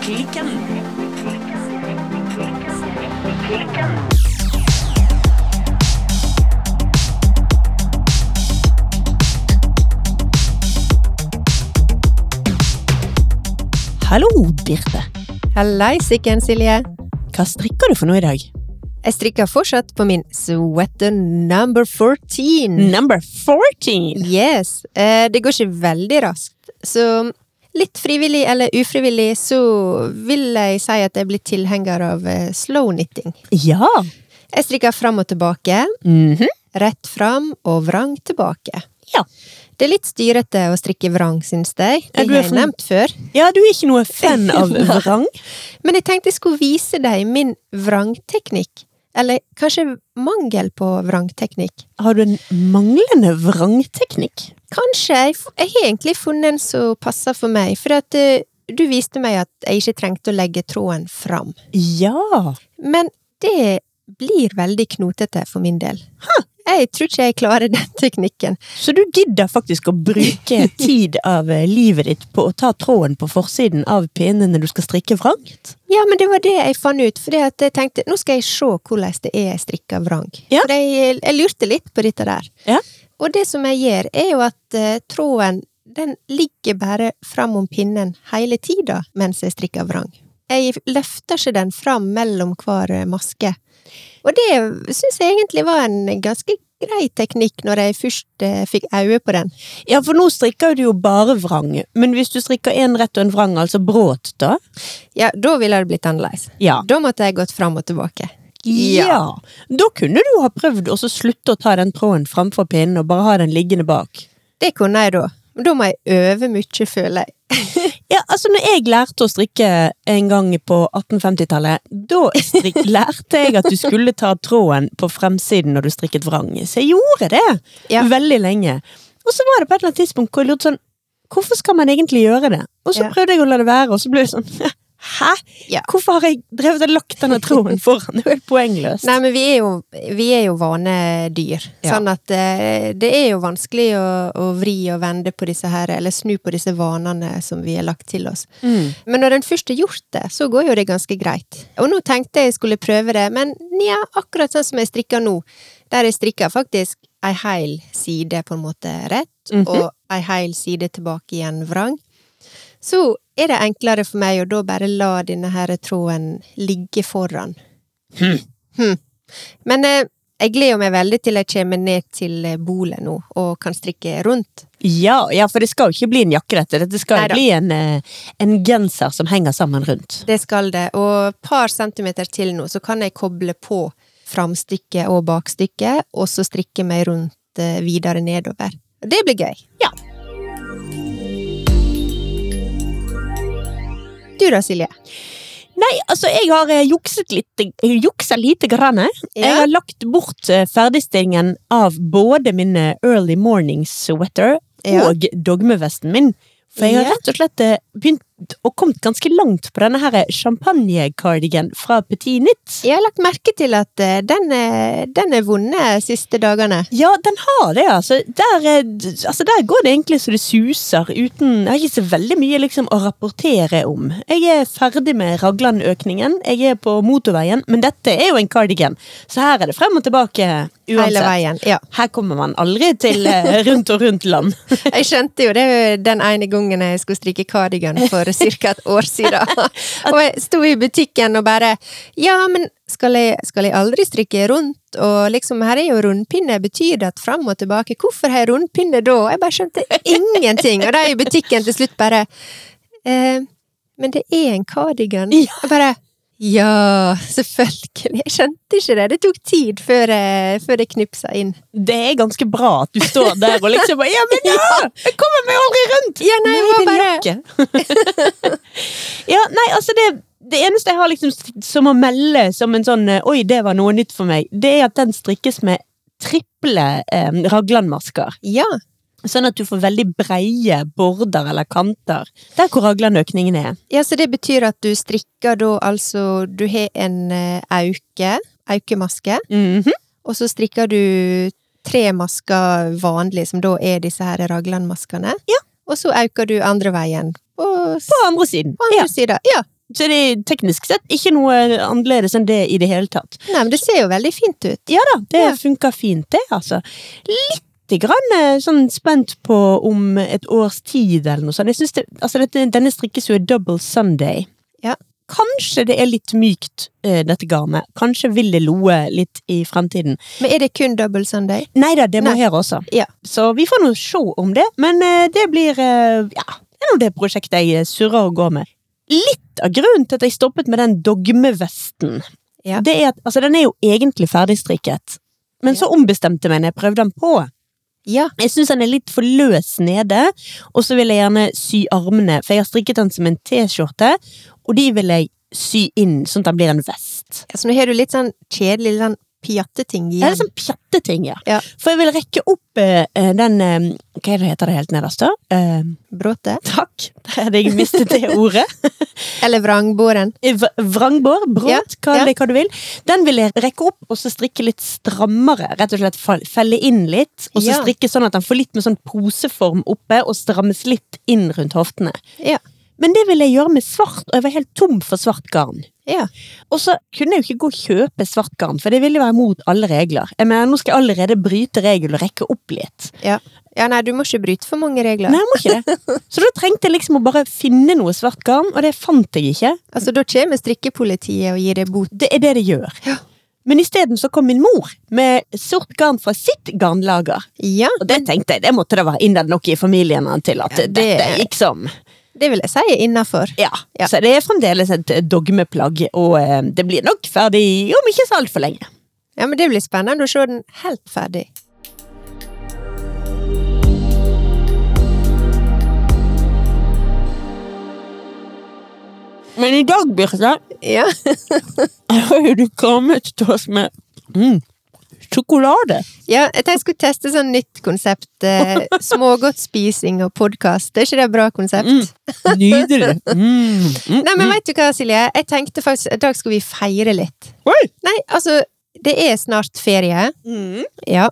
Klikken. Hallo, Birte. Hallaisiken, Silje. Hva strikker du for noe i dag? Jeg strikker fortsatt på min sweater number 14. Number 14! Yes. Eh, det går ikke veldig raskt. Så litt frivillig eller ufrivillig så vil jeg si at jeg er blitt tilhenger av eh, slow knitting. Ja! Jeg strikker fram og tilbake. Mhm. Rett fram og vrang tilbake. Ja. Det er litt styrete å strikke vrang, syns jeg. Ja, du Det er har jeg fornøyd. nevnt før. Ja, du er ikke noe fan av vrang. Men jeg tenkte jeg skulle vise deg min vrangteknikk. Eller kanskje mangel på vrangteknikk. Har du en manglende vrangteknikk? Kanskje. Jeg, f- jeg har egentlig funnet en som passer for meg. For at eh, du viste meg at jeg ikke trengte å legge tråden fram. Ja! Men det blir veldig knotete for min del. Jeg tror ikke jeg klarer den teknikken. Så du gidder faktisk å bruke tid av eh, livet ditt på å ta tråden på forsiden av pinnene du skal strikke vrangt? Ja, men det var det jeg fant ut. For jeg tenkte nå skal jeg se hvordan det er jeg strikker vrang. Ja. For jeg, jeg lurte litt på dette der. Ja. Og det som jeg gjør, er jo at eh, tråden den ligger bare fram om pinnen hele tida mens jeg strikker vrang. Jeg løfter ikke den fram mellom hver eh, maske. Og det syns jeg egentlig var en ganske grei teknikk når jeg først eh, fikk øye på den. Ja, for nå strikker du jo bare vrang, men hvis du strikker en rett og en vrang, altså brått da? Ja, da ville det blitt annerledes. Ja. Da måtte jeg gått fram og tilbake. Ja. Da kunne du jo ha prøvd å så slutte å ta den tråden framfor pinnen og bare ha den liggende bak. Det kunne jeg da. Men da må jeg øve mye, føler jeg. Ja, altså når jeg lærte å strikke en gang på 1850-tallet, da strikk, lærte jeg at du skulle ta tråden på fremsiden når du strikket vrang. Så jeg gjorde det Ja. veldig lenge. Og så var det på et eller annet tidspunkt hvor jeg lurte sånn, hvorfor skal man egentlig gjøre det? Og så Ja. prøvde jeg å la det være, og så ble det sånn, hæ? Ja. Hvorfor har jeg drevet og lagt denne tråden foran? Det er jo helt poengløst. Nei, men vi er jo, vi er jo vanedyr. Ja. Sånn at eh, det er jo vanskelig å, å vri og vende på disse her, eller snu på disse vanene som vi har lagt til oss. Mm. Men når en først har gjort det, så går jo det ganske greit. Og nå tenkte jeg skulle prøve det, men nja, akkurat sånn som jeg strikker nå, der jeg strikker faktisk ei heil side på en måte rett, Mhm. og ei heil side tilbake igjen vrang, så er det enklere for meg å da bare la denne her tråden ligge foran. Hm. Men eh, jeg gleder meg veldig til jeg kommer ned til eh, bolet nå, og kan strikke rundt. Ja, ja, for det skal jo ikke bli en jakke dette. Dette skal Neida. jo bli en, eh, en genser som henger sammen rundt. Det skal det. Og et par centimeter til nå, så kan jeg koble på framstykket og bakstykket, og så strikke meg rundt eh, videre nedover. Det blir gøy. Ja. Du da, Silje? Nei, altså jeg har eh, jukset lite, juksa lite grann. eh. Jeg har lagt bort eh, ferdigstillingen av både min eh, early morning sweater Ja. og dogmevesten min. For jeg har Ja. rett og slett eh, begynt å kommet ganske langt på denne her champagne-cardigan fra Petit Nitt. Jeg har lagt merke til at eh, den, er, den er vunnet siste dagene. Ja, den har det, altså. Der, eh, d- altså. der går det egentlig så det suser, uten Jeg har ikke så veldig mye liksom, å rapportere om. Jeg er ferdig med Ragland-økningen, jeg er på motorveien, men dette er jo en cardigan, så her er det frem og tilbake Hele uansett. veien. Ja. Her kommer man aldri til eh, rundt og rundt land. Jeg skjønte jo det den ene gangen jeg skulle strikke cardigan for ca. et år siden. Og jeg sto i butikken og bare Ja, men skal jeg, skal jeg aldri strikke rundt? Og liksom, her er jo rundpinne. Betyr det at fram og tilbake? Hvorfor har jeg rundpinne da? Og Jeg bare skjønte ingenting. Og de i butikken til slutt bare eh, Men det er en cardigan. Ja. Jeg bare ja, selvfølgelig. Jeg skjønte ikke det. Det tok tid før, jeg- før det knipsa inn. Det er ganske bra at du står der og liksom bare Ja, men ja! Jeg kommer meg aldri rundt! Ja, nei, jeg var det er bare jakke. ja, nei, altså det det eneste jeg har liksom st- som å melde som en sånn eh, Oi, det var noe nytt for meg, det er at den strikkes med triple eh, raglanmasker. Ja. Sånn at du får veldig breie border eller kanter der hvor raglanøkningen er. Ja, så det betyr at du strikker da altså Du har en eh, auke, aukemaske, Mhm. og så strikker du tre masker vanlig, som da er disse her raglandmaskene. Ja. Og så auker du andre veien. Og s- På andre siden. på Ja. andre sida. Ja, Så det er teknisk sett ikke noe annerledes enn det i det hele tatt. Nei, men det ser jo veldig fint ut. Ja da, det Ja. funker fint, det, altså. Litt grann eh, sånn spent på om et års tid eller noe sånt. Jeg synes det, altså dette, denne strikkes jo i double Sunday. Ja. Kanskje det er litt mykt, eh, dette garnet. Kanskje vil det loe litt i fremtiden. Men er det kun double Sunday? Nei da, det må Nei. her også. Ja. Så vi får nå se om det, men eh, det blir eh, Ja, det er nå det prosjektet jeg eh, surrer og går med. Litt av grunnen til at jeg stoppet med den dogmevesten, Ja. det er at altså, den er jo egentlig ferdigstrikket, men så ombestemte jeg meg når jeg prøvde den på. Ja. Jeg syns den er litt for løs nede, og så vil jeg gjerne sy armene, for jeg har strikket den som en T-skjorte, og de vil jeg sy inn sånn at den blir en vest. Altså, nå har du litt sånn kjedelig litt sånn pjatteting Det er igjen. litt sånn pjatteting, ja. Ja. For jeg vil rekke opp eh, eh, den eh, Hva er det heter det helt nederst, da? Eh, Bråte? takk. Der hadde jeg mistet det ordet. Eller vrangbåren? Eh, v- Vrangbår, bråt, Ja, kall ja. det hva du vil. Den vil jeg rekke opp og så strikke litt strammere. Rett og slett fall- felle inn litt, og så Ja. strikke sånn at den får litt med sånn poseform oppe, og strammes litt inn rundt hoftene. Ja. Men det ville jeg gjøre med svart, og jeg var helt tom for svart garn. Ja. Og så kunne jeg jo ikke gå og kjøpe svart garn, for det ville være mot alle regler. Jeg mener, nå skal jeg allerede bryte regel og rekke opp litt. Ja. ja, nei, du må ikke bryte for mange regler. Nei, jeg må ikke det. Så da trengte jeg liksom å bare finne noe svart garn, og det fant jeg ikke. Altså, da kommer strikkepolitiet og gir deg bot. Det er det det gjør. Ja. Men isteden så kom min mor med sort garn fra sitt garnlager. Ja, Og det tenkte jeg, det måtte da være innad nok i familien til at Ja, det- dette gikk som det vil jeg si er innafor. Ja. Ja. Så det er fremdeles et eh, dogmeplagg, og eh, det blir nok ferdig om ikke så altfor lenge. Ja, men det blir spennende å se den helt ferdig. Men i dag, Birte, Ja. har jo du kommet til oss med mm, sjokolade. ja, jeg tenkte jeg skulle teste sånn nytt konsept. Eh, Smågodtspising og podkast. Er ikke det et bra konsept? Mm. Nydelig. Mm. Mm. Nei, men vet du hva, Silje? Jeg tenkte faktisk at i dag skulle vi feire litt. Oi! Nei, altså, det er snart ferie. Mm. Ja.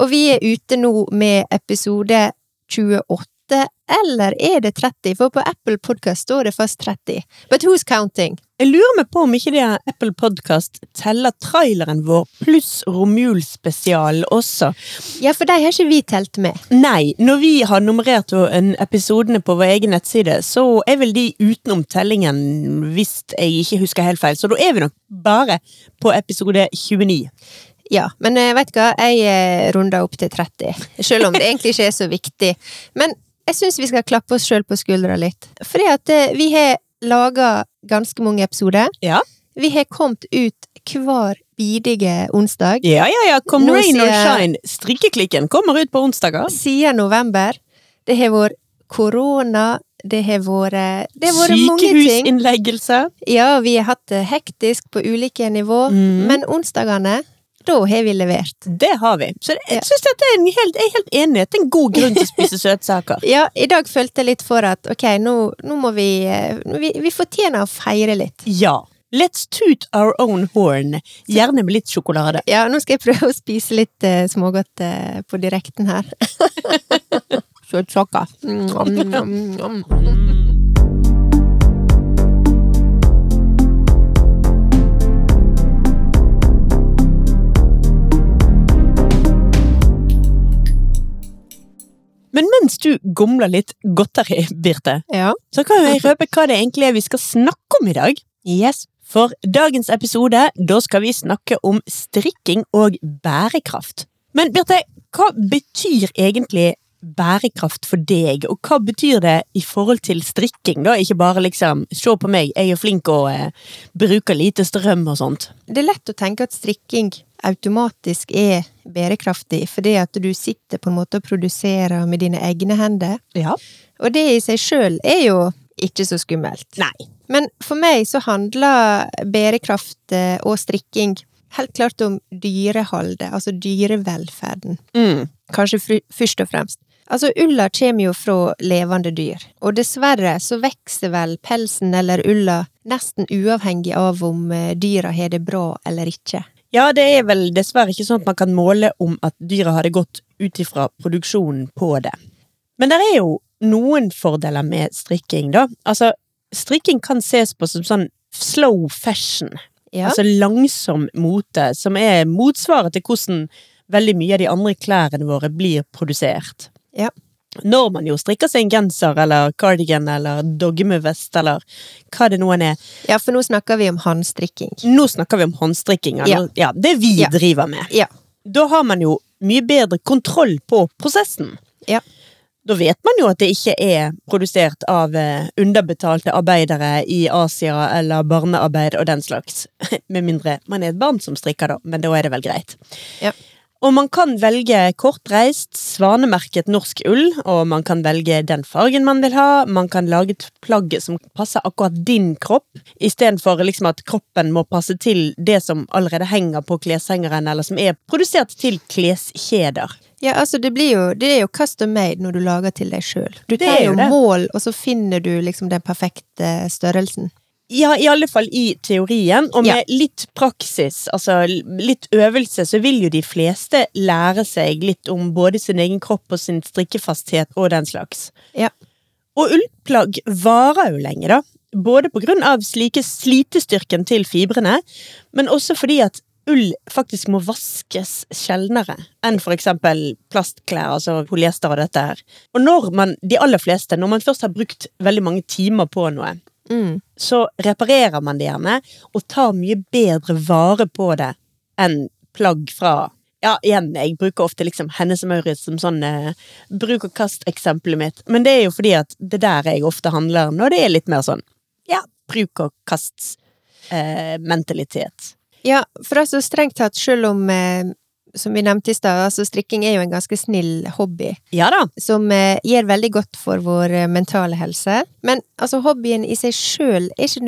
Og vi er ute nå med episode 28, eller er det 30? For på Apple Podcast står det fast 30. But who's counting? Jeg lurer meg på om ikke det her Apple Podcast teller traileren vår pluss romjulsspesialen også. Ja, for de har ikke vi telt med. Nei, når vi har nummerert jo en- episodene på vår egen nettside, så er vel de utenom tellingen, hvis jeg ikke husker helt feil. Så da er vi nok bare på episode 29. Ja, men eh, vet du hva, jeg eh, runder opp til 30. Selv om det egentlig ikke er så viktig. Men jeg syns vi skal klappe oss sjøl på skuldra litt. Fordi at eh, vi har laga ganske mange episoder. Ja. Vi har kommet ut hver bidige onsdag. Ja, ja, ja. Come Nå rain or sier- shine. Strikkeklikken kommer ut på onsdager. Siden november. Det har vært korona, det har vært eh, Det har vært mange ting. Sykehusinnleggelse. Ja, vi har hatt det hektisk på ulike nivå, Mm. men onsdagene, da har vi levert. Det har vi. Så det, Ja. jeg synes dette er en helt, jeg er helt enig. Det er en god grunn til å spise søtsaker. Ja, i dag følte jeg litt for at ok, nå, nå må vi, eh, vi Vi fortjener å feire litt. Ja. Let's toot our own horn. Gjerne med litt sjokolade. Ja, nå skal jeg prøve å spise litt eh, smågodt eh, på direkten her. Søtsaker. Men mens du gomler litt godteri, Birte, Ja. så kan jo jeg røpe hva det egentlig er vi skal snakke om i dag. Yes. For dagens episode, da skal vi snakke om strikking og bærekraft. Men Birte, hva betyr egentlig bærekraft for deg, og hva betyr det i forhold til strikking, da? Ikke bare liksom, se på meg, jeg er flink og eh, bruker lite strøm og sånt. Det er lett å tenke at strikking automatisk er bærekraftig, fordi at du sitter på en måte og produserer med dine egne hender. Ja. Og det i seg sjøl er jo ikke så skummelt. Nei. Men for meg så handler bærekraft eh, og strikking helt klart om dyreholdet, altså dyrevelferden. Mm. Kanskje fru- først og fremst. Altså, ulla kommer jo fra levende dyr, og dessverre så vokser vel pelsen eller ulla nesten uavhengig av om eh, dyra har det bra eller ikke. Ja, det er vel dessverre ikke sånn at man kan måle om at dyra har det godt ut ifra produksjonen på det. Men det er jo noen fordeler med strikking, da. Altså, strikking kan ses på som sånn slow fashion. Ja. Altså langsom mote, som er motsvaret til hvordan veldig mye av de andre klærne våre blir produsert. Ja. Når man jo strikker seg en genser eller cardigan eller dogmevest eller hva det nå enn er. ja, for nå snakker vi om håndstrikking. Nå snakker vi om håndstrikking, eller ja. det vi Ja. driver med. Ja. Da har man jo mye bedre kontroll på prosessen. Ja. Da vet man jo at det ikke er produsert av eh, underbetalte arbeidere i Asia eller barnearbeid og den slags. Med mindre man er et barn som strikker, da, men da er det vel greit. Ja. Og man kan velge kortreist, svanemerket norsk ull, og man kan velge den fargen man vil ha, man kan lage et plagg som passer akkurat din kropp, istedenfor liksom at kroppen må passe til det som allerede henger på kleshengeren, eller som er produsert til kleskjeder. Ja, altså det, blir jo, det er jo custom made når du lager til deg sjøl. Du Det tar er jo jo det. mål, og så finner du liksom den perfekte størrelsen. Ja, i alle fall i teorien, og med Ja. litt praksis, altså l- litt øvelse, så vil jo de fleste lære seg litt om både sin egen kropp og sin strikkefasthet og den slags. Ja. Og ullplagg varer jo lenge, da. Både på grunn av slike slitestyrken til fibrene, men også fordi at ull faktisk må vaskes sjeldnere enn for eksempel plastklær, altså polyester og dette her. Og når man, de aller fleste, når man først har brukt veldig mange timer på noe, Mm. så reparerer man det gjerne, og tar mye bedre vare på det enn plagg fra Ja, igjen, jeg bruker ofte liksom Hennes og Maurits som sånn eh, bruk og kast-eksempelet mitt, men det er jo fordi at det der jeg ofte handler når det er litt mer sånn ja, bruk og eh, kast-mentalitet. Ja, for altså strengt tatt, selv om eh, som vi nevnte i stad, altså strikking er jo en ganske snill hobby, ja da. som eh, gjør veldig godt for vår eh, mentale helse. Men altså, hobbyen i seg sjøl er ikke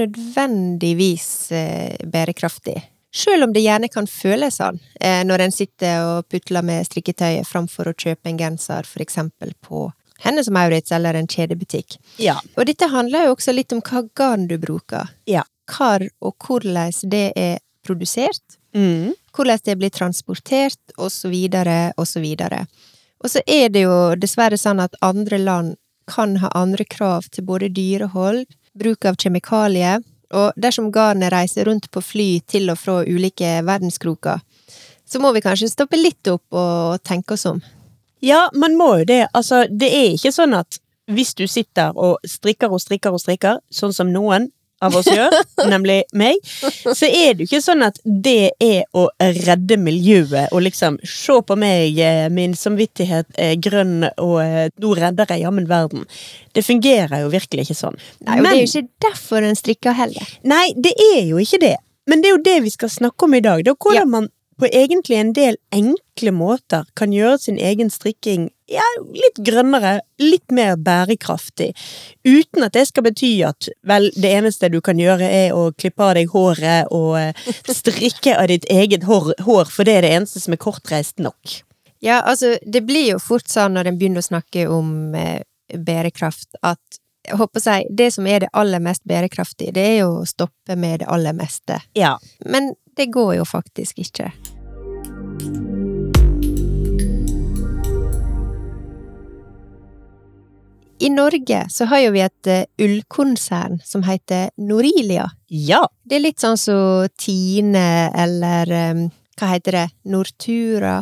nødvendigvis eh, bærekraftig. Sjøl om det gjerne kan føles sånn eh, når en sitter og putler med strikketøyet framfor å kjøpe en genser, for eksempel på Hennes og Maurits eller en kjedebutikk. Ja. Og dette handler jo også litt om hva garn du bruker. Ja. Hvor og hvordan det er produsert Mm. hvordan det blir transportert, og så videre, og så videre. Og så er det jo dessverre sånn at andre land kan ha andre krav til både dyrehold, bruk av kjemikalier, og dersom garnet reiser rundt på fly til og fra ulike verdenskroker, så må vi kanskje stoppe litt opp og tenke oss om. Ja, man må jo det. Altså, det er ikke sånn at hvis du sitter og strikker og strikker og strikker, sånn som noen av oss gjør, nemlig meg, så er det jo ikke sånn at det er å redde miljøet og liksom se på meg, eh, min samvittighet er grønn og eh, nå redder jeg jammen verden. Det fungerer jo virkelig ikke sånn. Nei, og det er jo ikke derfor en strikker heller. Nei, det er jo ikke det. Men det er jo det vi skal snakke om i dag. Det er hvordan Ja. man på egentlig en del enkle måter kan gjøre sin egen strikking ja, litt grønnere, litt mer bærekraftig. Uten at det skal bety at vel, det eneste du kan gjøre er å klippe av deg håret og eh, strikke av ditt eget hår, hår, for det er det eneste som er kortreist nok. Ja, altså, det blir jo fort sånn når en begynner å snakke om eh, bærekraft, at jeg håper å si, det som er det aller mest bærekraftige, det er jo å stoppe med det aller meste. Ja. Men det går jo faktisk ikke. I Norge så har jo vi et eh, ullkonsern som heter Norilia. Ja. Det er litt sånn som Tine eller eh, hva heter det, Nortura.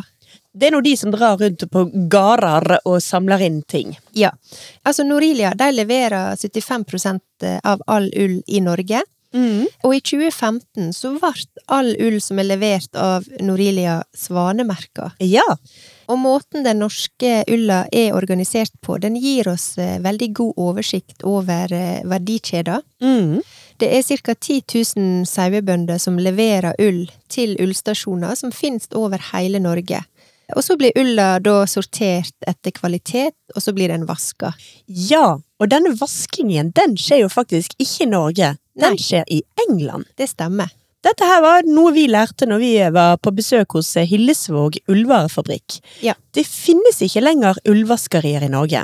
Det er nå de som drar rundt på gårder og samler inn ting. Ja. Altså, Norilia de leverer 75 av all ull i Norge. Mm. Og i 2015 så ble all ull som er levert av Norilia, svanemerka. Ja. Og måten den norske ulla er organisert på, den gir oss eh, veldig god oversikt over eh, verdikjeder. Mm. Det er ca. 10 000 sauebønder som leverer ull til ullstasjoner som finnes over hele Norge. Og så blir ulla da sortert etter kvalitet, og så blir den vaska. Ja, og denne vaskingen den skjer jo faktisk ikke i Norge. Den Nei. skjer i England. Det stemmer. Dette her var noe vi lærte når vi var på besøk hos eh, Hillesvåg ullvarefabrikk. Ja. Det finnes ikke lenger ullvaskerier i Norge.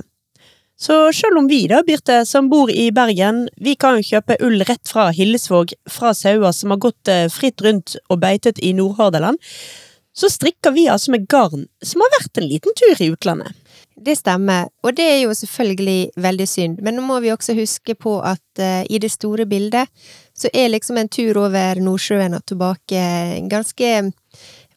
Så selv om vi da, Birte, som bor i Bergen, vi kan jo kjøpe ull rett fra Hillesvåg, fra sauer som har gått eh, fritt rundt og beitet i Nordhordaland, så strikker vi altså med garn som har vært en liten tur i utlandet. det stemmer. Og det er jo selvfølgelig veldig synd. Men nå må vi også huske på at eh, i det store bildet så er liksom en tur over Nordsjøen og tilbake ganske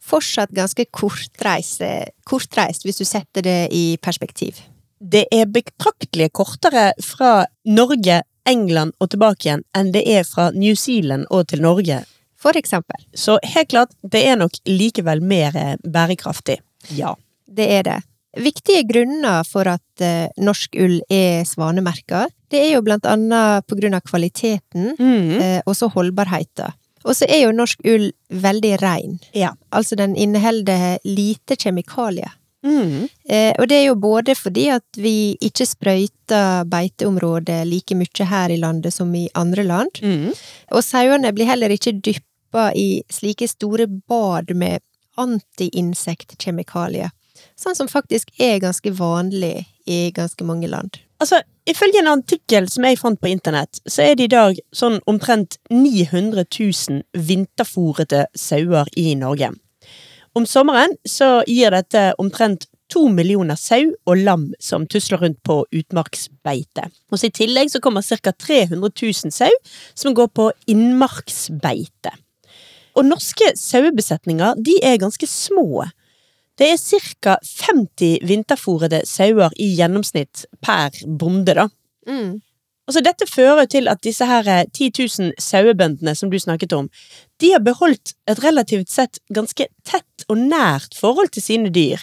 Fortsatt ganske kortreist, kortreist hvis du setter det i perspektiv. Det er betraktelig kortere fra Norge, England og tilbake igjen enn det er fra New Zealand og til Norge. For eksempel. Så helt klart, det er nok likevel mer eh, bærekraftig. Ja. Det er det. Viktige grunner for at eh, norsk ull er svanemerka, det er jo blant annet på grunn av kvaliteten Mm. eh, og så holdbarheten. Og så er jo norsk ull veldig rein. Ja. Altså den inneholder lite kjemikalier. Mm. Eh, og det er jo både fordi at vi ikke sprøyter beiteområdet like mye her i landet som i andre land, Mm. og sauene blir heller ikke dyppa i slike store bad med antiinsektkjemikalier, sånn som faktisk er ganske vanlig i ganske mange land. Altså, ifølge en artikkel som jeg fant på internett, så er det i dag sånn omtrent 900 000 vinterfòrete sauer i Norge. Om sommeren så gir dette omtrent to millioner sau og lam som tusler rundt på utmarksbeite. Og så I tillegg så kommer ca. 300 000 sau som går på innmarksbeite. Og norske sauebesetninger de er ganske små. Det er ca. 50 vinterfòrede sauer i gjennomsnitt per bonde, da. Mm. Altså, dette fører til at disse her eh, 10 000 sauebøndene som du snakket om, de har beholdt et relativt sett ganske tett og nært forhold til sine dyr.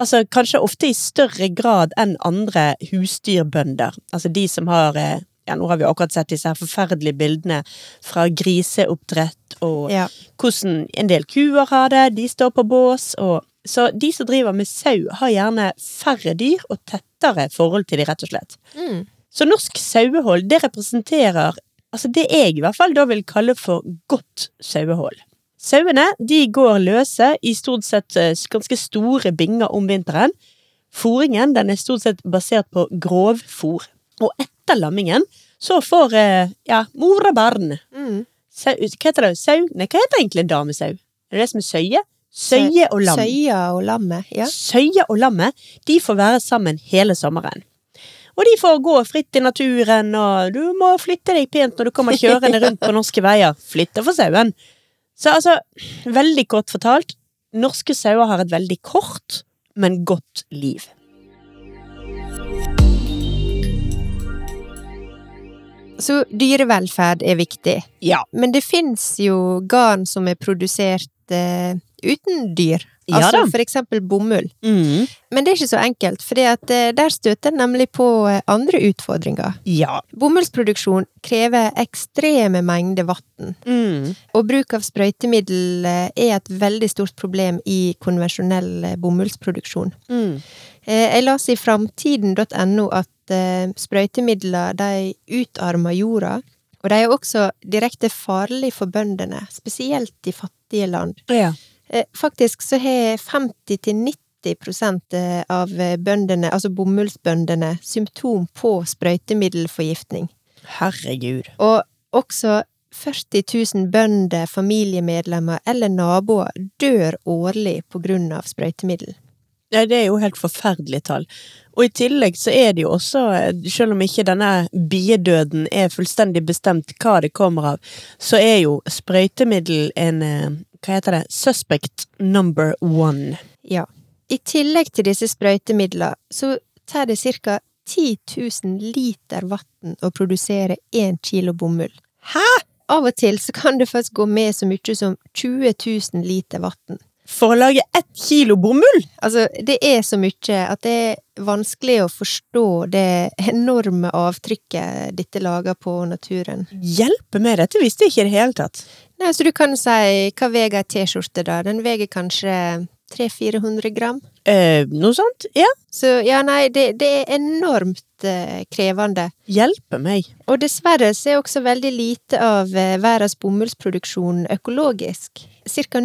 Altså kanskje ofte i større grad enn andre husdyrbønder. Altså de som har eh, Ja, nå har vi akkurat sett disse her forferdelige bildene fra griseoppdrett og Ja. hvordan en del kuer har det, de står på bås, og Så de som driver med sau, har gjerne færre dyr og tettere forhold til de, rett og slett. Mm. Så norsk sauehold, det representerer altså det jeg i hvert fall da vil kalle for godt sauehold. Sauene de går løse i stort sett eh, ganske store binger om vinteren. Fôringen den er stort sett basert på grovfôr. Og etter lammingen så får eh, ja, mor og barn Mm. Sau, hva heter det? Sau? Nei, hva heter egentlig en damesau? Er det det som er søye? Søye og lam. Søya og lammet, ja. Søye og lammet de får være sammen hele sommeren. Og de får gå fritt i naturen, og du må flytte deg pent når du kommer kjørende rundt på norske veier. Flytte for sauen. Så altså, veldig kort fortalt, norske sauer har et veldig kort, men godt liv. Så dyrevelferd er viktig. Ja. Men det fins jo garn som er produsert eh, uten dyr. Ja altså da. for eksempel bomull. Mm. Men det er ikke så enkelt, for der støter en nemlig på eh, andre utfordringer. Ja. Bomullsproduksjon krever ekstreme mengder vann, Mm. og bruk av sprøytemiddel eh, er et veldig stort problem i konvensjonell eh, bomullsproduksjon. Mm. Eh, Jeg leste i framtiden.no at eh, sprøytemidler de utarmer jorda, og de er også direkte farlige for bøndene, spesielt i fattige land. Ja. Eh, Faktisk så har 50-90 eh, av eh, bøndene, altså bomullsbøndene, symptom på sprøytemiddelforgiftning. Herregud. Og også 40 000 bønder, familiemedlemmer eller naboer dør årlig på grunn av sprøytemiddel. Ja, det er jo helt forferdelige tall. Og i tillegg så er det jo også, eh, selv om ikke denne biedøden er fullstendig bestemt hva det kommer av, så er jo sprøytemiddel en eh, Hva heter det? Suspect number one. Ja. I tillegg til disse sprøytemidlene, så tar det ca. 10 000 liter vann å produsere 1 kilo bomull. Hæ?! Av og til så kan det faktisk gå med så mye som 20 000 liter vann. For å lage ett kilo bomull! Altså, det er så mye at det er vanskelig å forstå det enorme avtrykket dette lager på naturen. Hjelpe meg, dette visste jeg ikke i det hele tatt. Nei, så du kan si hva veier ei T-skjorte, da? Den veier kanskje 300-400 gram. Eh, noe sånt? Ja. Så ja, nei, det, det er enormt eh, krevende. Hjelpe meg. Og dessverre så er også veldig lite av eh, verdens bomullsproduksjon økologisk. Cirka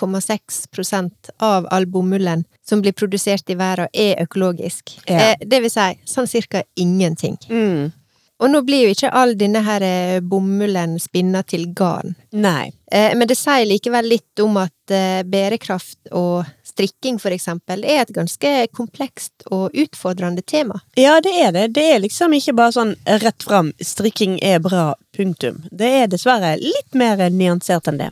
0,6 av all bomullen som blir produsert i verden, er økologisk. Ja. Mm. Eh, det vil si sånn cirka ingenting. Og nå blir jo ikke all denne her eh, bomullen spinna til garn. Nei. Eh, Men det sier likevel litt om at eh, bærekraft og strikking, for eksempel, er et ganske komplekst og utfordrende tema. Ja, det er det. Det er liksom ikke bare sånn rett fram, strikking er bra, punktum. Det er dessverre litt mer nyansert enn det.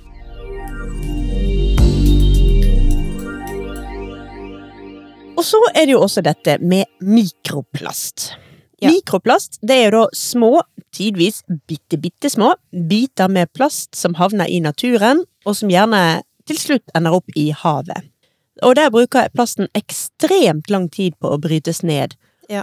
Og så er det jo også dette med mikroplast. Ja. Mikroplast det er jo da små, tidvis bitte, bitte små, biter med plast som havner i naturen, og som gjerne til slutt ender opp i havet. Og der bruker plasten ekstremt lang tid på å brytes ned.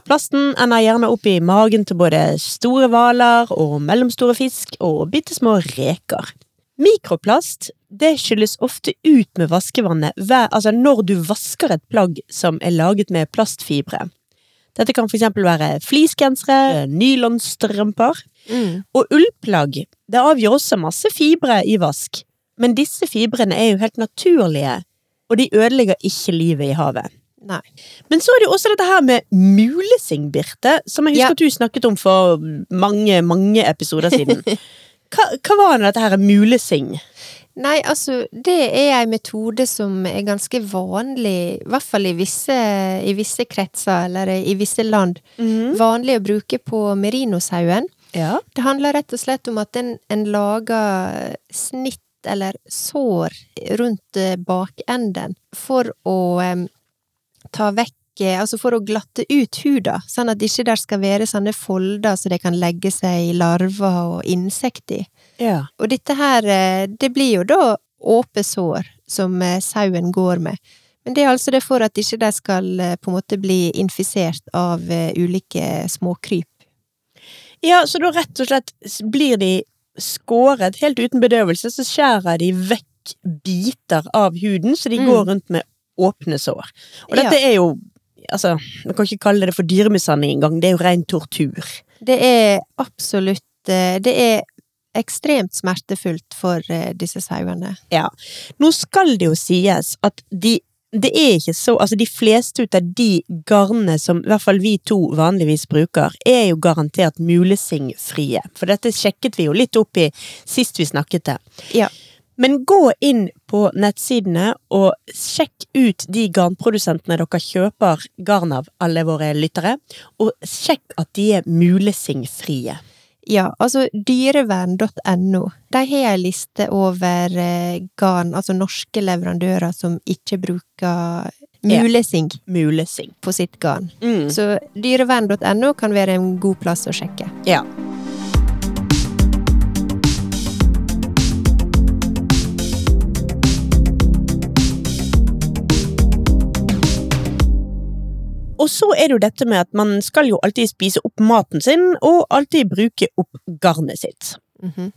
Plasten ender gjerne opp i magen til både store hvaler og mellomstore fisk og bitte små reker. Mikroplast det skylles ofte ut med vaskevannet hver, altså når du vasker et plagg som er laget med plastfibre. Dette kan f.eks. være fleecegensere, nylonstrømper. Mm. Og ullplagg det avgjør også masse fibre i vask, men disse fibrene er jo helt naturlige, og de ødelegger ikke livet i havet. Nei. Men så er det jo også dette her med mulesing, Birte, som jeg Ja. husker at du snakket om for mange, mange episoder siden. Hva, hva var nå dette her mulesing? Nei, altså, det er ei metode som er ganske vanlig, i hvert fall i visse, i visse kretser eller i visse land, vanlig å bruke på merinosauen. Ja. Det handler rett og slett om at en, en lager snitt eller sår rundt eh, bakenden for å em, ta vekk eh, Altså for å glatte ut huda, sånn at ikke der skal være sånne folder så det kan legge seg larver og insekter i. ja. Og dette her, eh, det blir jo da åpe sår som eh, sauen går med. Men det er altså det for at ikke de skal eh, på en måte bli infisert av eh, ulike småkryp. Ja, så da rett og slett s- blir de skåret helt uten bedøvelse, så skjærer de vekk biter av huden, så de Mm. går rundt med åpne sår. Og Ja. dette er jo Altså, man kan ikke kalle det for dyremishandling engang, det er jo ren tortur. Det er absolutt eh, Det er ekstremt smertefullt for eh, disse sauene. Nå skal det jo sies at de det er ikke så, altså De fleste ut av de garnene som i hvert fall vi to vanligvis bruker, er jo garantert mulesingfrie. For dette sjekket vi jo litt opp i sist vi snakket det. Ja. Men gå inn på nettsidene og sjekk ut de garnprodusentene dere kjøper garn av, alle våre lyttere, og sjekk at de er mulesingfrie. Ja, altså dyrevern.no. De har ei liste over eh, garn, altså norske leverandører som ikke bruker Ja. mulesing Mulesing. på sitt garn. Mm. Så dyrevern.no kan være en god plass å sjekke. Ja. Og så er det jo dette med at man skal jo alltid spise opp maten sin, og alltid bruke opp garnet sitt.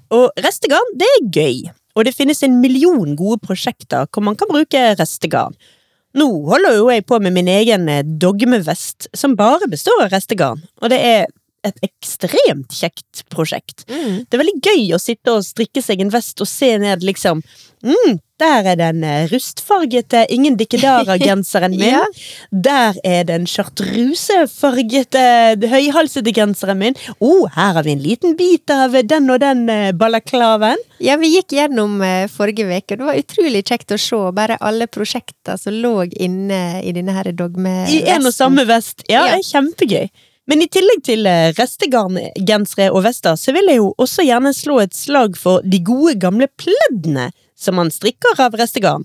Og restegarn, det er gøy. Og det finnes en million gode prosjekter hvor man kan bruke restegarn. Nå holder jo jeg på med min egen eh, dogmevest, som bare består av restegarn. Og det er et ekstremt kjekt prosjekt. Mm. Det er veldig gøy å sitte og strikke seg en vest og se ned, liksom. Mm, der er den eh, rustfargete Ingen Dikkedara-genseren min. Ja. Der er den chartrusefargete høyhalsete genseren min. Å, oh, her har vi en liten bit av den og den eh, balaklaven. Ja, vi gikk gjennom eh, forrige uke, og det var utrolig kjekt å se bare alle prosjekter som lå inne i denne her dogme... I en og samme vest. Ja, det er kjempegøy. Men i tillegg til eh, restegarngensere og vester, så vil jeg jo også gjerne slå et slag for de gode gamle pleddene som man strikker av restegarn.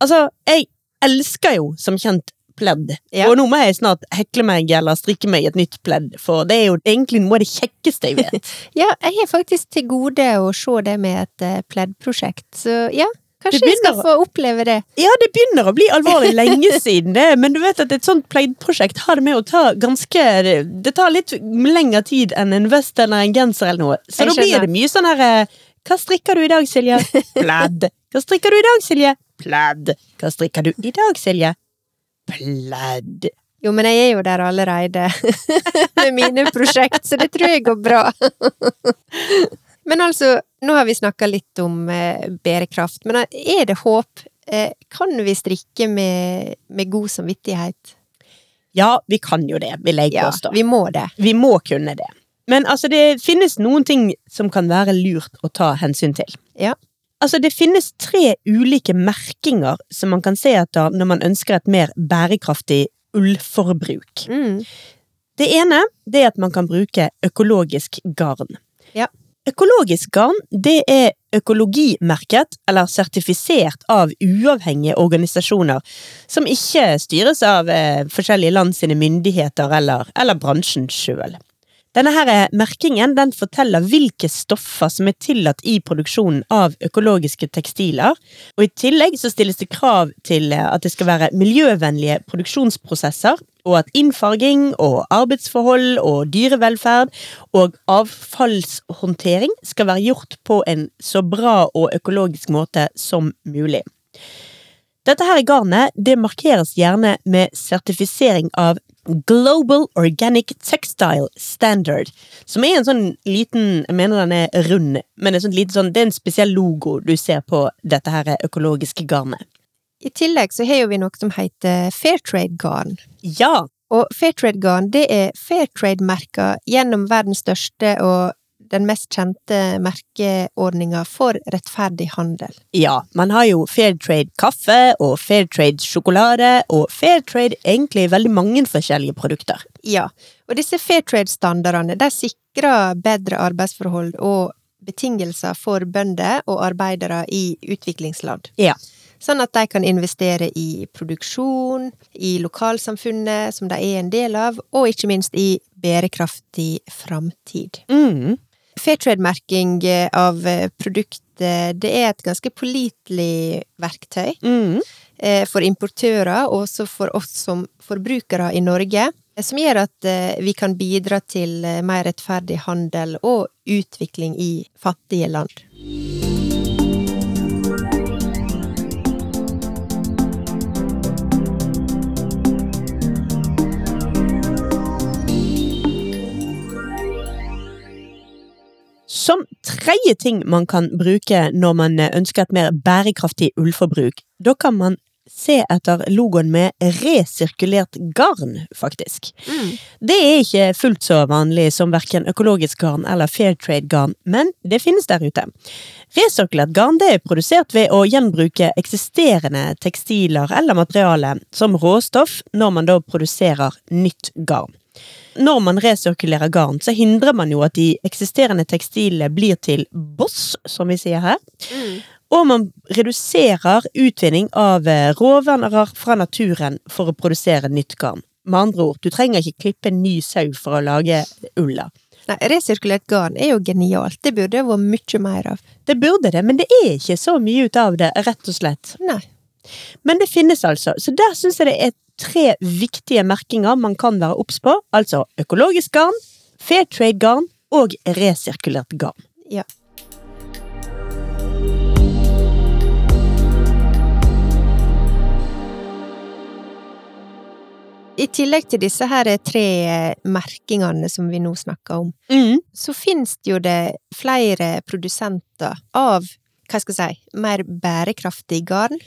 Altså, jeg elsker jo som kjent pledd, Ja. og nå må jeg snart hekle meg eller strikke meg et nytt pledd, for det er jo egentlig noe av det kjekkeste jeg vet. Ja, jeg har faktisk til gode å se det med et eh, pleddprosjekt, så ja, Det kanskje jeg skal begynner få oppleve det. ja, det begynner å bli alvorlig lenge siden det, men du vet at et sånt pleddprosjekt har det med å ta ganske Det tar litt lengre tid enn en vest eller en genser eller noe, så Jeg da blir skjønner. det mye sånn her eh, Hva strikker du i dag, Silje? Pledd. Hva strikker du i dag, Silje? Pledd. Hva strikker du i dag, Silje? Pledd. Jo, men jeg er jo der allerede med mine prosjekt, så det tror jeg går bra. men altså, nå har vi snakka litt om eh, bærekraft, men er det håp? Eh, kan vi strikke med, med god samvittighet? Ja, vi kan jo det, vil jeg Ja, påstå. vi må det. Vi må kunne det. Men altså, det finnes noen ting som kan være lurt å ta hensyn til. Ja. Altså, det finnes tre ulike merkinger som man kan se etter når man ønsker et mer bærekraftig ullforbruk. Mm. Det ene det er at man kan bruke økologisk garn. Ja. Økologisk garn det er økologimerket eller sertifisert av uavhengige organisasjoner som ikke styres av eh, forskjellige land sine myndigheter eller, eller bransjen sjøl. Denne her eh, merkingen den forteller hvilke stoffer som er tillatt i produksjonen av økologiske tekstiler, og i tillegg så stilles det krav til eh, at det skal være miljøvennlige produksjonsprosesser, og at innfarging og arbeidsforhold og dyrevelferd og avfallshåndtering skal være gjort på en så bra og økologisk måte som mulig. Dette her garnet det markeres gjerne med sertifisering av Global Organic Textile Standard, som er en sånn liten Jeg mener den er rund, men en sånn liten sånn, det er en spesiell logo du ser på dette her økologiske garnet. I tillegg så har jo vi noe som heter fair trade-garn. Ja! Og fair trade-garn det er fair trade-merka gjennom verdens største og den mest kjente merkeordninga for rettferdig handel. Ja, man har jo Fair Trade kaffe og Fair Trade sjokolade, og Fair Trade egentlig veldig mange forskjellige produkter. Ja, og disse fair trade-standardene de sikrer bedre arbeidsforhold og betingelser for bønder og arbeidere i utviklingsland. Ja. Sånn at de kan investere i produksjon, i lokalsamfunnet som de er en del av, og ikke minst i bærekraftig framtid. Mm. Fair trade-merking av eh, produkter det er et ganske pålitelig verktøy Mm. eh, for importører og også for oss som forbrukere i Norge, eh, som gjør at eh, vi kan bidra til eh, mer rettferdig handel og utvikling i fattige land. Som tredje ting man kan bruke når man eh, ønsker et mer bærekraftig ullforbruk, da kan man se etter logoen med resirkulert garn, faktisk. Det er ikke fullt så vanlig som verken økologisk garn eller fair trade garn, men det finnes der ute. Resirkulert garn det er produsert ved å gjenbruke eksisterende tekstiler eller materiale som råstoff når man da produserer nytt garn. Når man resirkulerer garn, så hindrer man jo at de eksisterende tekstilene blir til boss, som vi sier her. Og man reduserer utvinning av eh, råvarer fra naturen for å produsere nytt garn. Med andre ord, du trenger ikke klippe en ny sau for å lage ulla. Nei, resirkulert garn er jo genialt. Det burde det vært mye mer av. Det burde det, men det er ikke så mye ut av det, rett og slett. Nei. Men det finnes altså, så der syns jeg det er tre viktige merkinger man kan være obs på. Altså økologisk garn, fair trade garn og resirkulert garn. Ja. I tillegg til disse her tre eh, merkingene som vi nå snakker om, Mm. så finnes det jo det flere produsenter av, hva skal jeg si, mer bærekraftig garn.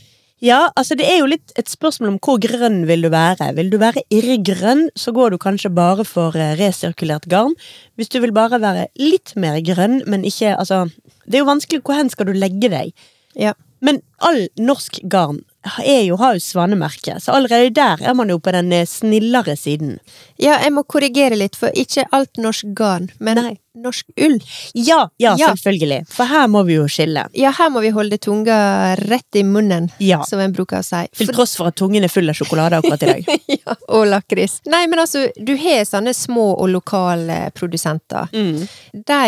Ja, altså det er jo litt et spørsmål om hvor grønn vil du være. Vil du være irrgrønn, så går du kanskje bare for eh, resirkulert garn. Hvis du vil bare være litt mer grønn, men ikke Altså, det er jo vanskelig hvor hen skal du legge deg. Ja. Men all norsk garn er jo, har jo svanemerke, så allerede der er man jo på den eh, snillere siden. Ja, jeg må korrigere litt, for ikke alt norsk garn, men Nei. norsk ull. Ja, ja, Ja. selvfølgelig. For her må vi jo skille. Ja, her må vi holde tunga rett i munnen, Ja. som en bruker å si. Til tross for at tungen er full av sjokolade akkurat i dag. ja, og lakris. Nei, men altså, du har sånne små og lokale produsenter. Mm. De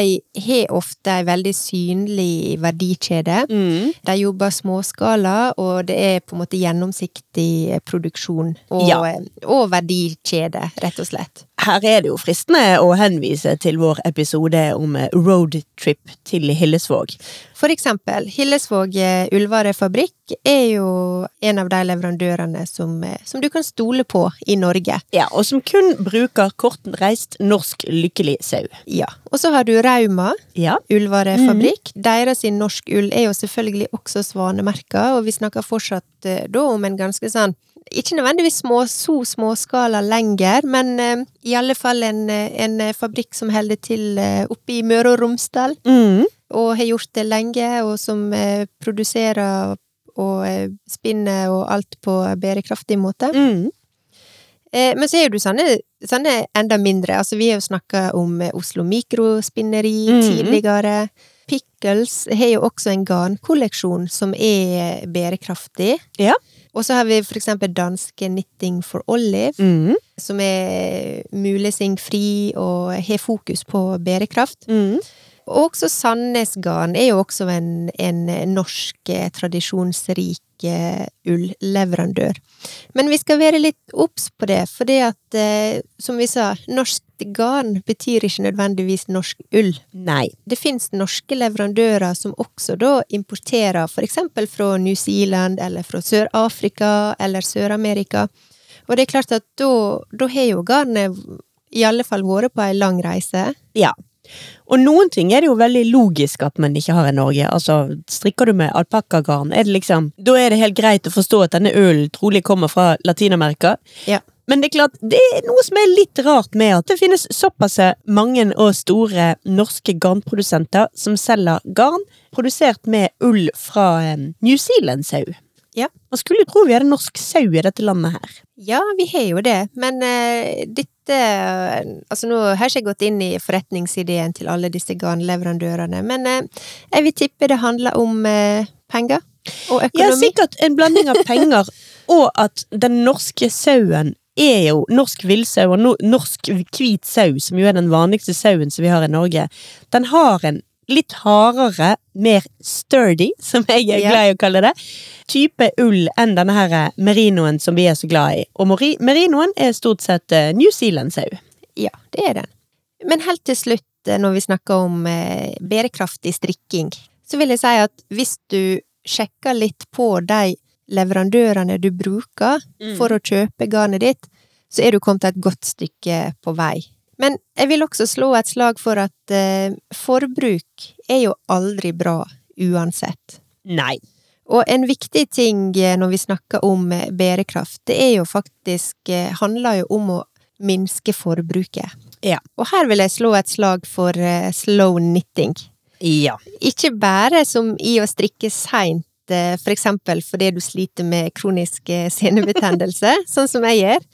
har ofte ei veldig synlig verdikjede. Mm. De jobber småskala, og det er på en måte gjennomsiktig eh, produksjon og, eh, Ja. og verdikjede, rett og slett. Her er det jo fristende å henvise til vår episode om eh, roadtrip til Hillesvåg. For eksempel, Hillesvåg eh, Ullvare fabrikk er jo en av de leverandørene som, eh, som du kan stole på i Norge. Ja, og som kun bruker kortreist norsk lykkelig sau. Ja. Og så har du Rauma, Ja. ullvarefabrikk. Deres sin norsk ull er jo selvfølgelig også svanemerka, og vi snakker fortsatt eh, da om en ganske sånn ikke nødvendigvis små, så småskala lenger, men eh, i alle fall en, eh, en eh, fabrikk som holder til eh, oppe i Møre og Romsdal, Mm. og har gjort det lenge, og som eh, produserer og eh, spinner og alt på bærekraftig måte. Mm. Eh, men så er jo du sånne, sånne enda mindre. Altså, vi har jo snakka om eh, Oslo Mikrospinneri Mhm. tidligere. Pickles har jo også en garnkolleksjon som er bærekraftig. Ja. Og så har vi for eksempel danske Knitting for Olive, Mm. som er mulesingfri og har fokus på bærekraft. Mm. Og også Sandnes Garn er jo også en, en norsk eh, tradisjonsrik eh, ullleverandør. Men vi skal være litt obs på det, for det at, eh, som vi sa, norsk garn betyr ikke nødvendigvis norsk ull. Nei. Det finnes norske leverandører som også da importerer for eksempel fra New Zealand eller fra Sør-Afrika eller Sør-Amerika. Og det er klart at da, da har jo garnet i alle fall vært på ei lang reise. Ja. Og noen ting er det jo veldig logisk at man ikke har i Norge. Altså, Strikker du med alpakkagarn, er det liksom Da er det helt greit å forstå at denne ølen trolig kommer fra Latin-Amerika. Ja. Men det er klart, det er noe som er litt rart med at det finnes såpass mange og store norske garnprodusenter som selger garn produsert med ull fra eh, New Zealand-sau. Ja. Man skulle jo tro vi hadde norsk sau i dette landet her. Ja, vi har jo det, men eh, dette Altså, nå har ikke jeg gått inn i forretningsideen til alle disse garnleverandørene, men eh, jeg vil tippe det handler om eh, penger og Ja, økonomi. sikkert en blanding av penger og at den norske sauen er jo norsk villsau og no norsk hvit sau, som jo er den vanligste sauen som vi har i Norge. Den har en litt hardere, mer sturdy, som jeg er Ja. glad i å kalle det, type ull enn denne her merinoen som vi er så glad i. Og mori merinoen er stort sett eh, New Zealand-sau. Ja, det er den. Men helt til slutt, eh, når vi snakker om eh, bærekraftig strikking, så vil jeg si at hvis du sjekker litt på de leverandørene du bruker for å kjøpe garnet ditt, så er du kommet et godt stykke på vei. Men jeg vil også slå et slag for at eh, forbruk er jo aldri bra uansett. Nei. Og en viktig ting eh, når vi snakker om eh, bærekraft, det er jo faktisk eh, handler jo om å minske forbruket. Ja. Og her vil jeg slå et slag for eh, slow knitting. Ja. Ikke bare som i å strikke seint, eh, for eksempel fordi du sliter med kronisk eh, senebetennelse, sånn som jeg gjør,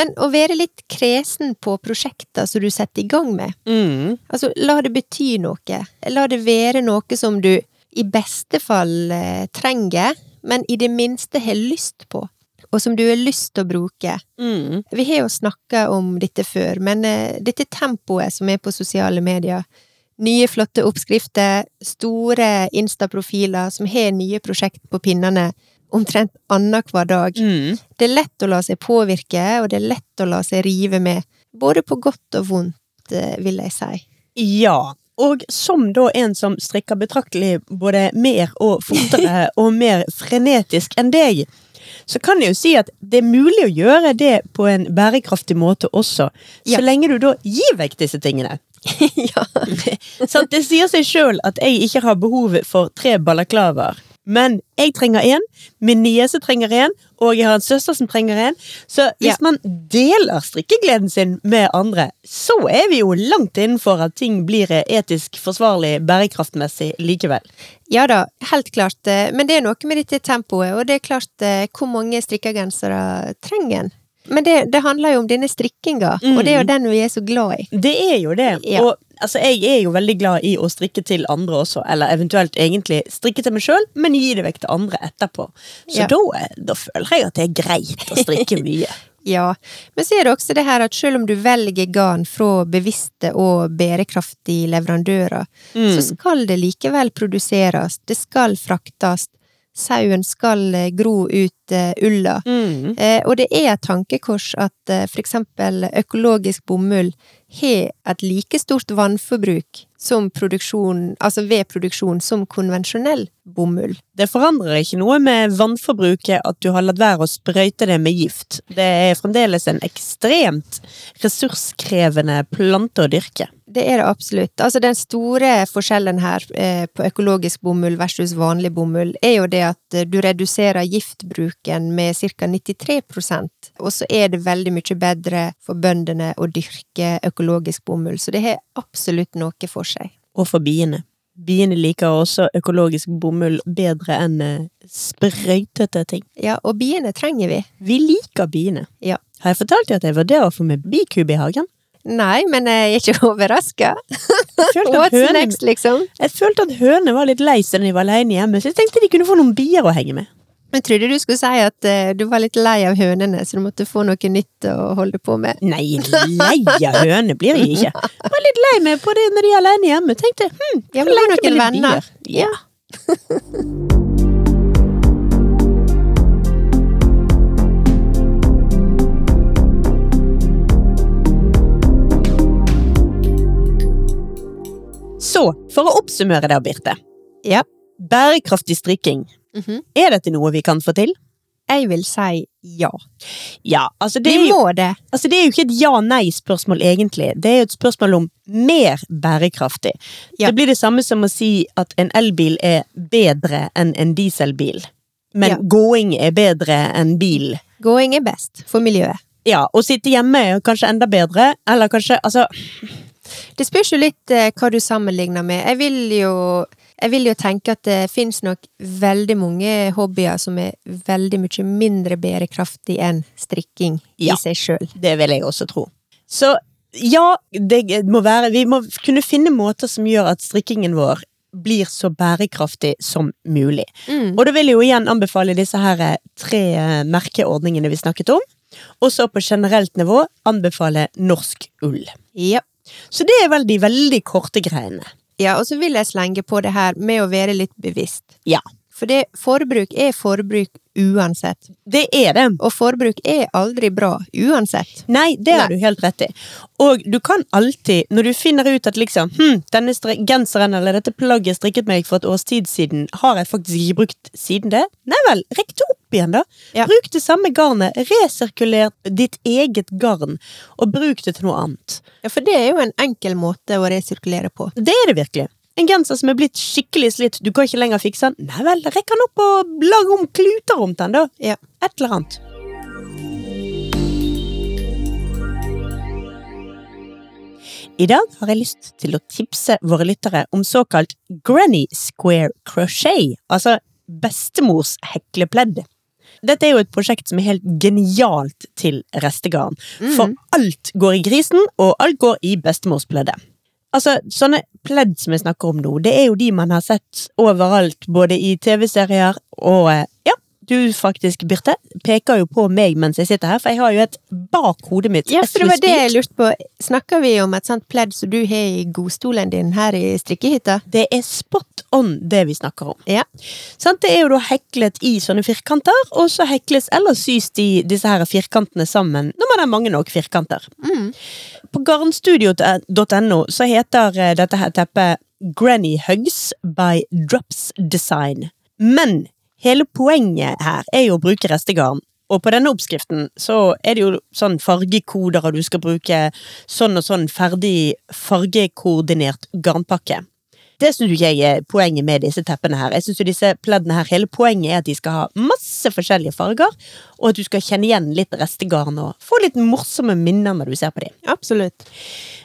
men å være litt kresen på prosjekter som du setter i gang med. Mm. Altså, la det bety noe. La det være noe som du i beste fall eh, trenger, men i det minste har lyst på, og som du har lyst til å bruke. Mm. Vi har jo snakka om dette før, men eh, dette tempoet som er på sosiale medier, nye flotte oppskrifter, store Insta-profiler som har nye prosjekt på pinnene omtrent annenhver dag. Mm. Det er lett å la seg påvirke, og det er lett å la seg rive med, både på godt og vondt, eh, vil jeg si. Ja, og som da en som strikker betraktelig både mer og fortere og mer frenetisk enn deg, så kan jeg jo si at det er mulig å gjøre det på en bærekraftig måte også, så Ja. lenge du da gir vekk disse tingene. ja. Så det sier seg sjøl at jeg ikke har behov for tre balaklavaer. Men jeg trenger én, min niese trenger én, og jeg har en søster som trenger én. Så hvis Ja. man deler strikkegleden sin med andre, så er vi jo langt innenfor at ting blir etisk forsvarlig bærekraftmessig likevel. Ja da, helt klart. eh, Men det er noe med dette tempoet, og det er klart eh, hvor mange strikkegensere trenger en. Men det, det handler jo om denne strikkinga, og det er jo den vi er så glad i. Det er jo det. Ja. Og altså, jeg er jo veldig glad i å strikke til andre også, eller eventuelt egentlig strikke til meg sjøl, men gi det vekk til andre etterpå. Så Ja. da, eh, da føler jeg at det er greit å strikke mye. Ja, men så er det også det her at selv om du velger garn fra bevisste og bærekraftige leverandører, Mm. så skal det likevel produseres, det skal fraktes, sauen skal eh, gro ut eh, ulla. Mm. Eh, og det er et tankekors at eh, for eksempel økologisk bomull har et like stort vannforbruk som produksjon, altså ved produksjon som konvensjonell bomull. Det forandrer ikke noe med vannforbruket at du har latt være å sprøyte det med gift. Det er fremdeles en ekstremt ressurskrevende plante å dyrke. det er det absolutt. Altså, den store forskjellen her eh, på økologisk bomull versus vanlig bomull, er jo det at eh, du reduserer giftbruken med ca. 93 og så er det veldig mye bedre for bøndene å dyrke økologisk bomull, så det har absolutt noe for seg. Og for biene. Biene liker også økologisk bomull bedre enn eh, sprøytete ting. Ja, og biene trenger vi. Vi liker biene. Ja. Har jeg fortalt deg at jeg vurderer å få med bikube i hagen? Nei, men jeg er ikke overraska. Jeg følte at What's hønene, next, liksom? jeg følte at hønene var litt lei seg når de var alene hjemme, så jeg tenkte de kunne få noen bier å henge med. Jeg trodde du skulle si at eh, du var litt lei av hønene, så du måtte få noe nytt å holde på med. Nei, lei av høne blir jeg ikke. Jeg var litt lei meg på det når de er alene hjemme. Tenkte hm, Ja, men du har leke noen med litt venner. bier. Ja. Så, for å oppsummere der, Birte. Ja. Bærekraftig strikking. Mhm. Er dette noe vi kan få til? Jeg vil si ja. Ja, altså det Vi er jo må det. Altså, det er jo ikke et ja-nei-spørsmål, egentlig. Det er jo et spørsmål om mer bærekraftig. Ja. Det blir det samme som å si at en elbil er bedre enn en dieselbil. Men Ja. gåing er bedre enn bil. Gåing er best for miljøet. Ja, Å sitte hjemme er jo kanskje enda bedre, eller kanskje Altså, Det spørs jo litt eh, hva du sammenligner med. Jeg vil jo, jeg vil jo tenke at det finnes nok veldig mange hobbyer som er veldig mye mindre bærekraftig enn strikking Ja. i seg sjøl. det vil jeg også tro. Så ja, det må være Vi må kunne finne måter som gjør at strikkingen vår blir så bærekraftig som mulig. Mm. Og da vil jeg jo igjen anbefale disse her eh, tre eh, merkeordningene vi snakket om. Og så på generelt nivå anbefale norsk ull. Ja. Så det er vel de veldig korte greiene. ja, og så vil jeg slenge på det her med å være litt bevisst. Ja. For det, forbruk er forbruk uansett. Det er det. Og forbruk er aldri bra uansett. Nei, det har Nei. du helt rett i. Og du kan alltid, når du finner ut at liksom hm, denne stri- genseren eller dette plagget jeg strikket meg for et års tid siden, har jeg faktisk ikke brukt siden det. Nei vel, rekk det opp igjen, da. Ja. Bruk det samme garnet. Resirkuler ditt eget garn, og bruk det til noe annet. Ja, for det er jo en enkel måte å resirkulere på. Det er det virkelig. En genser som er blitt skikkelig slitt, du kan ikke lenger fikse den. Nei vel, rekk den opp og lag om kluter rundt den, da. Ja. Et eller annet. I dag har jeg lyst til å tipse våre lyttere om såkalt granny square crochet, altså bestemors heklepledd. Dette er jo et prosjekt som er helt genialt til restegarn, Mm. for alt går i grisen, og alt går i bestemorspleddet. Altså, sånne pledd som jeg snakker om nå, det er jo de man har sett overalt, både i TV-serier og eh, Ja, du faktisk, Birte, peker jo på meg mens jeg sitter her, for jeg har jo et bak hodet mitt. Ja, as for det we var det speak. jeg lurte på. Snakker vi om et sånt pledd som du har i godstolen din her i strikkehytta? Det er spot on det vi snakker om. Ja. Sant? Det er jo da heklet i sånne firkanter, og så hekles eller sys de disse her firkantene sammen når man har mange nok firkanter. På garnstudio.no så heter eh, dette her teppet Granny Hugs by Drops Design. Men hele poenget her er jo å bruke restegarn. Og på denne oppskriften så er det jo sånn fargekoder, og du skal bruke sånn og sånn ferdig fargekoordinert garnpakke. Det syns ikke jeg er poenget med disse teppene her. Jeg synes jo disse pleddene her, Hele poenget er at de skal ha masse forskjellige farger, og at du skal kjenne igjen litt restegarn og få litt morsomme minner når du ser på dem. Absolutt.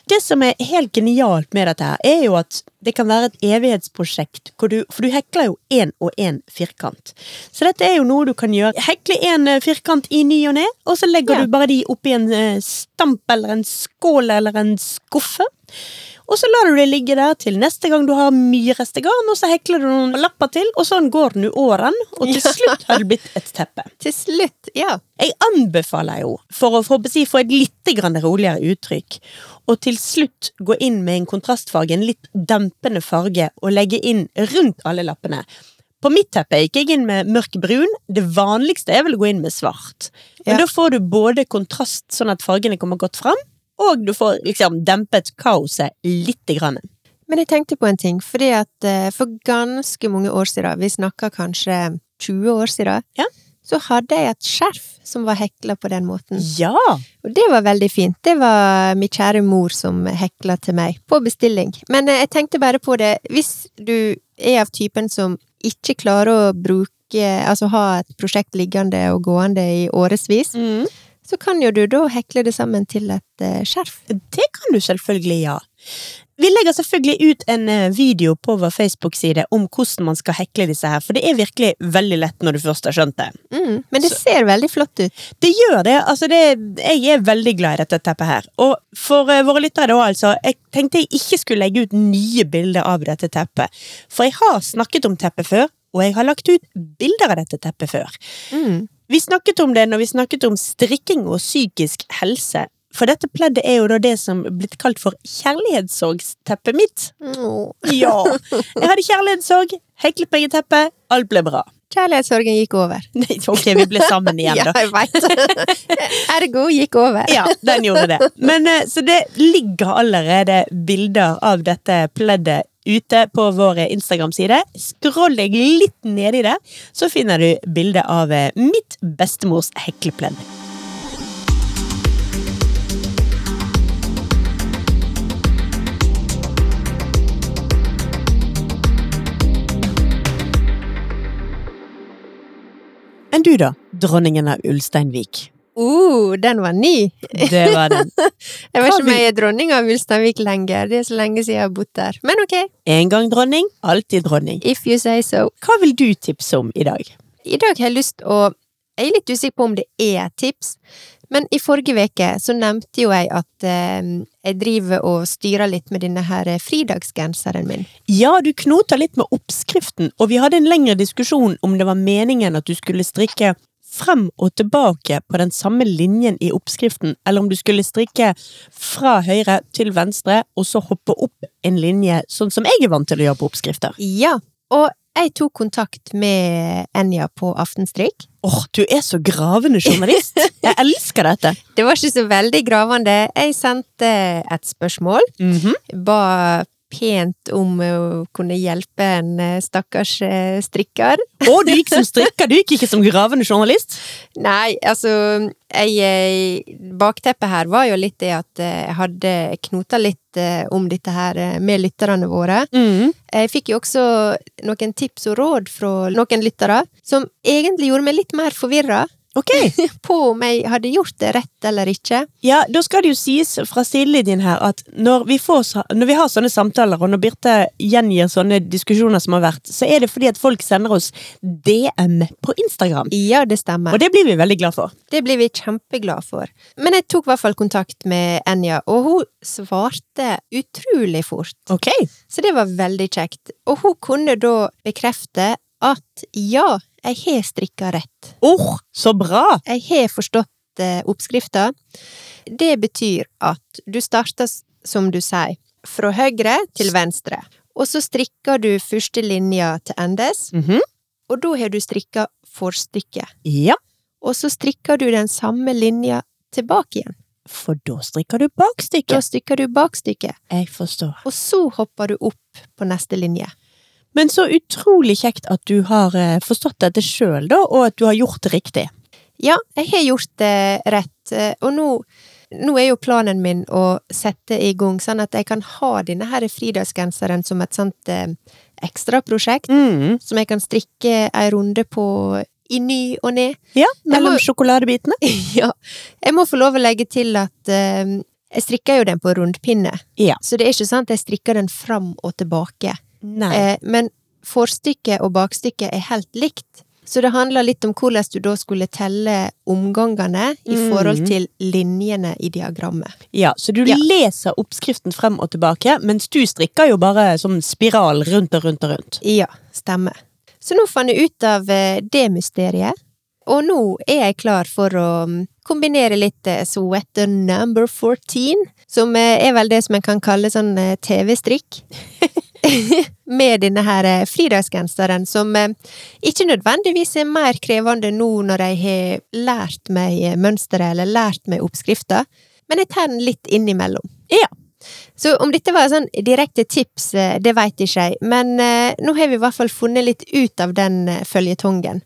Det som er helt genialt med dette her, er jo at det kan være et evighetsprosjekt, hvor du, for du hekler jo én og én firkant. Så dette er jo noe du kan gjøre. Hekle én eh, firkant i ny og ne, og så legger Ja. du bare de oppi en eh, stamp eller en skål eller en skuffe. Og så lar du det ligge der til neste gang du har mye restegarn, og så hekler du noen lapper til, og sånn går den jo åren, og til slutt har det blitt et teppe. Til slutt, ja. Jeg anbefaler jo, for å få, si, få et litt grann roligere uttrykk, å til slutt gå inn med en kontrastfarge, en litt dempende farge, og legge inn rundt alle lappene. På mitt teppe gikk jeg inn med mørk brun. Det vanligste er vel å gå inn med svart. Men Ja. da får du både kontrast, sånn at fargene kommer godt fram, og du får liksom dempet kaoset lite grann. Men jeg tenkte på en ting, fordi at eh, for ganske mange år siden, vi snakker kanskje 20 år siden, Ja. så hadde jeg et skjerf som var hekla på den måten. Ja! Og det var veldig fint. Det var min kjære mor som hekla til meg, på bestilling. Men eh, jeg tenkte bare på det, hvis du er av typen som ikke klarer å bruke Altså ha et prosjekt liggende og gående i Mm. årevis, så kan jo du da hekle det sammen til et eh, skjerf. Det kan du selvfølgelig, ja. Vi legger selvfølgelig ut en eh, video på vår Facebook-side om hvordan man skal hekle disse her, for det er virkelig veldig lett når du først har skjønt det. Mm. Men det Så- ser veldig flott ut. Det gjør det. altså det, Jeg er veldig glad i dette teppet her. Og for eh, våre lyttere da, altså. Jeg tenkte jeg ikke skulle legge ut nye bilder av dette teppet. For jeg har snakket om teppet før, og jeg har lagt ut bilder av dette teppet før. Mm. Vi snakket om det når vi snakket om strikking og psykisk helse. For dette pleddet er jo da det som er blitt kalt for kjærlighetssorgsteppet mitt. Åh. Ja! Jeg hadde kjærlighetssorg, heklet meg i teppet, alt ble bra. Kjærlighetssorgen gikk over. Nei, ok, vi ble sammen igjen, Ja, da. jeg veit. Ergo gikk over. Ja, den gjorde det. Men eh, Så det ligger allerede bilder av dette pleddet ute på vår Instagram-side. Skroll deg litt nedi der, så finner du bilde av eh, mitt bestemors heklepledd. Enn du, da, dronningen av Ulsteinvik? Uh, den var ny! Det var den. Jeg Hva var ikke med i dronning av Ulsteinvik lenger, det er så lenge siden jeg har bodd der. Men ok, En gang dronning, alltid dronning. if you say so. Hva vil du tipse om i dag? I dag har jeg lyst å Jeg er litt usikker på om det er et tips, men i forrige uke så nevnte jo jeg at eh, jeg driver og styrer litt med denne her eh, fridagsgenseren min. Ja, du knota litt med oppskriften, og vi hadde en lengre diskusjon om det var meningen at du skulle strikke frem og tilbake på den samme linjen i oppskriften, eller om du skulle strikke fra høyre til venstre, og så hoppe opp en linje, sånn som jeg er vant til å gjøre på oppskrifter. Ja, og jeg tok kontakt med Enja på Aftenstrik. Åh, du er så gravende journalist! Jeg elsker dette! Det var ikke så veldig gravende. Jeg sendte et spørsmål. Mhm. Ba pent om å kunne hjelpe en eh, stakkars eh, strikker. Og du gikk som strikker, du gikk ikke som gravende journalist! Nei, altså jeg, eh, Bakteppet her var jo litt det at eh, jeg hadde knota litt eh, om dette her eh, med lytterne våre. Jeg fikk jo også noen tips og råd fra noen lyttere som egentlig gjorde meg litt mer forvirra Ok, på om jeg hadde gjort det rett eller ikke. Ja, da skal det jo sies fra sidelinjen her at når vi, får, så- når vi har sånne samtaler, og når Birte gjengir sånne diskusjoner som har vært, så er det fordi at folk sender oss DM på Instagram. Ja, det stemmer. Og det blir vi veldig glad for. Det blir vi kjempeglad for. Men jeg tok i hvert fall kontakt med Enja, og hun svarte utrolig fort. Ok. Så det var veldig kjekt. Og hun kunne da bekrefte at ja, jeg har strikka rett. Åh, så bra! Jeg har forstått eh, oppskrifta. Det betyr at du starter, s- som du sier, fra høyre til venstre. Og så strikker du første linja til endes, Mhm. og da har du strikka forstykket. Ja, Og så strikker du den samme linja tilbake igjen. for da strikker du Da bakstykket. stykker du bakstykket, Jeg forstår. og så hopper du opp på neste linje. Men så utrolig kjekt at du har eh, forstått dette sjøl, da, og at du har gjort det riktig. Ja, jeg har gjort det rett, eh, og nå, nå er jo planen min å sette i gang sånn at jeg kan ha denne her fridagsgenseren som et sånt eh, ekstraprosjekt, Mm. som jeg kan strikke ei runde på i ny og ned. Ja, må- mellom sjokoladebitene. ja. Jeg må få lov å legge til at eh, jeg strikker jo den på rundpinne, Ja. så det er ikke sant at jeg strikker den fram og tilbake. Nei. Eh, men forstykket og bakstykket er helt likt. Så det handler litt om hvordan du da skulle telle omgangene i Mm. forhold til linjene i diagrammet. Ja, så du Ja. leser oppskriften frem og tilbake, mens du strikker jo bare som spiral rundt og rundt og rundt. Ja, stemmer. Så nå fant jeg ut av eh, det mysteriet, og nå er jeg klar for å mm, kombinere litt eh, sweater number 14, som eh, er vel det som en kan kalle sånn eh, TV-strikk. Med denne her eh, fridagsgenseren, som eh, ikke nødvendigvis er mer krevende nå når jeg har lært meg eh, mønsteret eller lært meg oppskrifta, men jeg tar den litt innimellom. Ja. Så om dette var sånn direkte tips, eh, det veit ikke jeg, men eh, nå har vi i hvert fall funnet litt ut av den eh, føljetongen.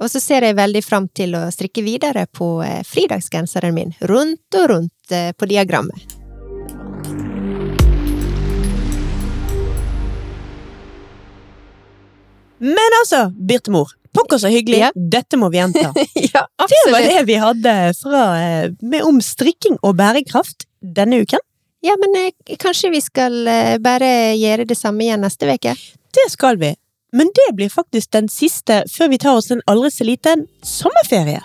Og så ser jeg veldig fram til å strikke videre på eh, fridagsgenseren min, rundt og rundt eh, på diagrammet. Men altså, Birtemor, pokker så hyggelig. Ja. Dette må vi gjenta. ja, Det var det vi hadde fra, eh, med om strikking og bærekraft denne uken. Ja, men eh, kanskje vi skal eh, bare gjøre det samme igjen neste uke? Det skal vi. Men det blir faktisk den siste før vi tar oss en aldri så liten sommerferie.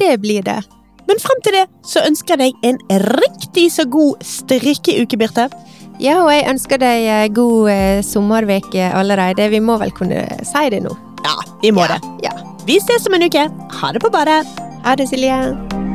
Det blir det. Men frem til det så ønsker jeg deg en riktig så god strikkeuke, Birte. Ja, og jeg ønsker deg eh, god eh, sommerveke allerede. Vi må vel kunne si det nå. Ja, vi må det. Ja. Vi ses om en uke. Ha det på badet. Ha det, Silje.